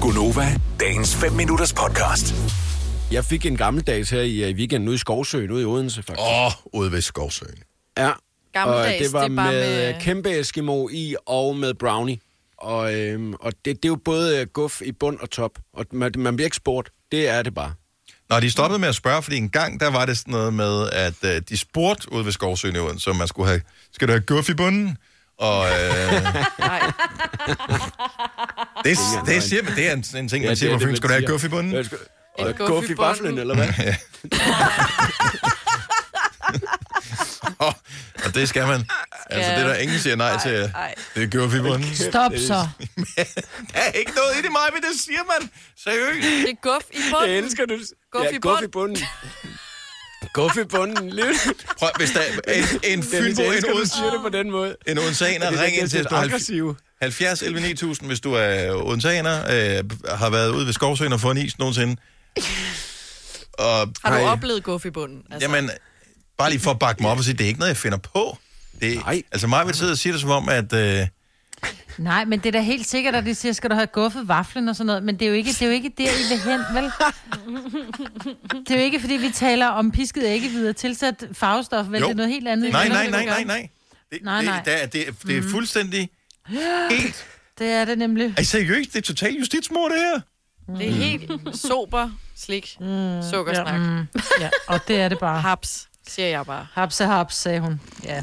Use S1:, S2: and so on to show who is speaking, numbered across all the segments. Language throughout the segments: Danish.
S1: Gunova, dagens 5 minutters podcast.
S2: Jeg fik en gammeldags her i øh, weekenden ude i Skovsøen, ude i Odense faktisk.
S3: Åh, oh, ude ved Skovsøen.
S2: Ja.
S4: Gammeldags,
S2: og det var
S4: det er bare
S2: med,
S4: med-
S2: øh, kæmpe Eskimo i og med brownie. Og, øhm, og det, det er jo både øh, guf i bund og top. Og man, man bliver ikke spurgt. Det er det bare.
S3: Nå, de stoppede med at spørge, fordi en gang, der var det sådan noget med, at øh, de spurgte ude ved Skovsøen, i Odense, om man skulle have, skal du have guff i bunden? Og øh,
S4: Nej,
S3: det, det, siger, man- det er en, en ting, man siger,
S2: det er
S3: hvorfor
S2: det,
S3: skal du have
S2: siger.
S3: guff i bunden?
S2: Ja, skal-
S4: En
S2: Og
S4: guf
S2: guf
S4: i
S2: i vaflen,
S4: bunden.
S2: eller hvad?
S3: Åh, og det skal man. Altså, det er der ingen der siger nej til.
S4: ej.
S3: Det er guff i bunden.
S5: Stop så.
S3: Der er ikke noget i det, mig, men det siger man. Seriøst.
S4: det er guf i
S2: Jeg
S4: bunden.
S2: elsker det.
S4: Guf
S2: ja,
S4: i
S2: guf i
S4: bund.
S2: bunden. guf i bunden. Liv.
S3: Prøv, hvis der er en, en
S2: Dennis,
S3: fynbo,
S2: jeg
S3: en,
S2: elsker, du
S3: Odense,
S2: siger det på den måde.
S3: en
S2: Det
S3: odenseaner,
S2: er
S3: ring ind
S2: næsten
S3: til os på
S2: aggressiv.
S3: 70 11 9000, hvis du er odenseaner, øh, har været ude ved Skovsøen og fået en is nogensinde. Og,
S4: Har du
S2: Ej.
S4: oplevet guf i bunden? Altså,
S3: jamen, bare lige for at bakke mig op og sige, det er ikke noget, jeg finder på. Det,
S2: Nej.
S3: Altså mig vil sidde og sige det som om, at... Øh,
S5: Nej, men det er da helt sikkert, at de siger, skal du have guffet vaflen og sådan noget, men det er jo ikke, det er jo ikke der, I vil hen, vel? Det er jo ikke, fordi vi taler om pisket æggehvide og tilsat farvestof, vel?
S3: Jo.
S5: Det er noget helt andet.
S3: nej,
S5: end
S3: nej,
S5: det,
S3: nej,
S5: du gør.
S3: nej, nej. Det,
S5: Nej, nej. Mm.
S3: Det, der, er- det, det er fuldstændig... Helt,
S5: Det er det nemlig.
S3: altså, seriøst, det er totalt justitsmord, det her.
S4: det
S2: mm.
S4: er helt sober, slik, sukkersnak.
S5: Mm, Ja, og det er det bare.
S4: Haps, siger jeg bare.
S5: Hapse, haps, sagde hun. Ja.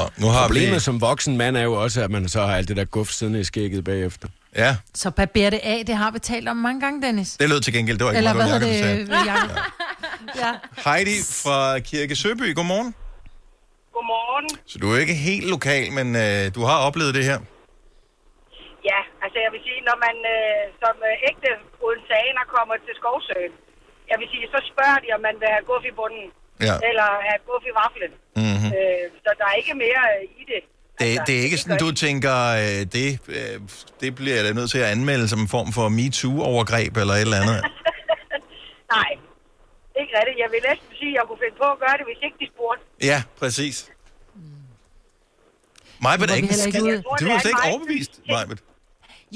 S3: Og nu har vi...
S2: Problemet som voksen mand er jo også, at man så har alt det der guf siddende i skægget bagefter.
S3: Ja,
S5: Så barber det af, det har vi talt om mange gange, Dennis.
S3: det lød til gengæld, det var ikke
S5: Eller hvad
S3: Margot
S5: hedder
S3: Jacobsen sagde.
S5: det? øh, Jacob? Ja.
S3: Heidi fra Kirke Søby, godmorgen.
S6: Godmorgen.
S3: Så du er ikke helt lokal, men øh, du har oplevet det her.
S6: Ja, altså jeg vil sige, når man øh, som øh, ægte odenseaner kommer til Skovsøen, jeg vil sige, så spørger de, om man vil have guff i bunden,
S3: Ja. Mhm.
S6: eller have guff i vaflen. Mm-hmm. Øh, så der er ikke mere øh, i det.
S3: Det, det er ikke sådan,
S6: gør
S3: du tænker, øh, det, øh, det bliver jeg da nødt til at anmelde som en form for MeToo-overgreb eller et eller andet.
S6: Nej, ikke rigtigt. Jeg vil næsten sige, at jeg kunne finde på at gøre det, hvis ikke de spurgte.
S3: Ja, præcis. Majbet er
S5: vi
S3: ikke...
S5: heller ikke
S3: en skid-
S5: ude.
S3: Du er slet ikke overbevist, Majbet.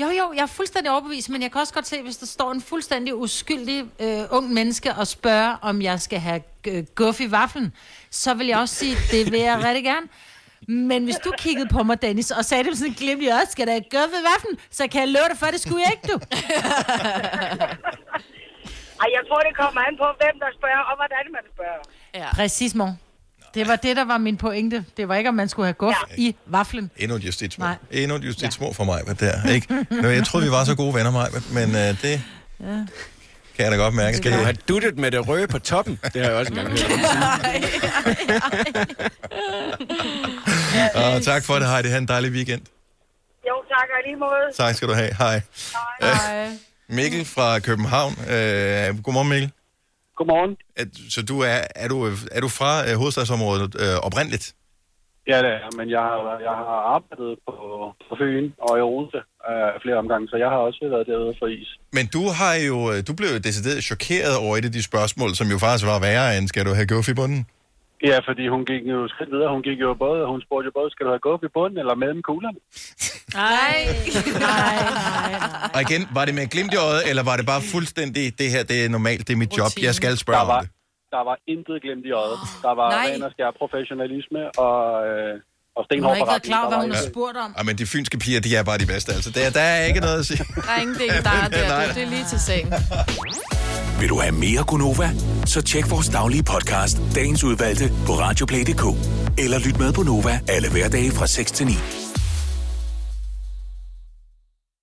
S5: Jo, jo, jeg er fuldstændig overbevist, men jeg kan også godt se, hvis der står en fuldstændig uskyldig øh, ung menneske og spørger, om jeg skal have øh, guff i vaflen, så vil jeg også sige, det vil jeg rigtig gerne. Men hvis du kiggede på mig, Dennis, og sagde det med sådan en glimt i øjet, skal der have guff i vaflen, så kan jeg love dig for, det skulle jeg ikke, du.
S6: Ej, jeg tror, det kommer an på, hvem der spørger, og hvordan man spørger.
S4: Ja.
S5: Præcis, mor. Det var det, der var min pointe. Det var ikke, om man skulle have guff i vaflen.
S3: Endnu et justitsmål.
S5: Nej.
S3: Endnu et justitsmål for Majbet der, ikke? Nå, jeg troede, vi var så gode venner, Majbet, men øh, det ja. kan jeg da godt mærke.
S2: Kan du
S3: det-
S2: have duttet med det røde på toppen? Det har jeg også engang hørt.
S3: Og Ah, tak for det, Heidi. Ha' en dejlig weekend.
S6: Jo, tak og i lige måde.
S3: Tak skal du have. Hej. Hej. Mikkel fra København. Øh, godmorgen, Mikkel.
S7: Godmorgen.
S3: Er, så du er, er, du, er du fra øh, hovedstadsområdet øh, oprindeligt?
S7: Ja, det er, men jeg har, jeg har arbejdet på, på Fyn og i Odense øh, flere omgange, så jeg har også været derude for is.
S3: Men du har jo, øh, du blev jo decideret chokeret over et af de spørgsmål, som jo faktisk var værre end, skal du have guff i bunden?
S7: Ja, fordi hun gik jo skridt videre. Hun gik jo både, hun spurgte jo både, skal du have gået i bunden eller mellem kuglerne?
S4: Nej.
S3: Og igen, var det med et glimt i øjet, eller var det bare fuldstændig, det her, det er normalt, det er mit job, jeg skal spørge
S7: Der var,
S3: om det?
S7: der var intet glemt i øjet. Der var
S4: nej.
S7: ren og skær professionalisme og, øh, og
S5: Hun
S7: stenhård
S5: har ikke været
S7: forretning.
S5: klar over,
S7: Der
S5: hvad
S7: var
S5: hun har
S7: ikke-
S5: spurgt om.
S3: Ej, men de fynske piger, de er bare de bedste, altså. Der, der er ikke noget at sige.
S4: Der er ingen ding, der er der. Du, det er lige til sagen.
S1: Vil du have mere Gunova? Så tjek vores daglige podcast, dagens udvalgte, på radioplay.dk. Eller lyt med på Nova alle hverdage fra 6 til 9.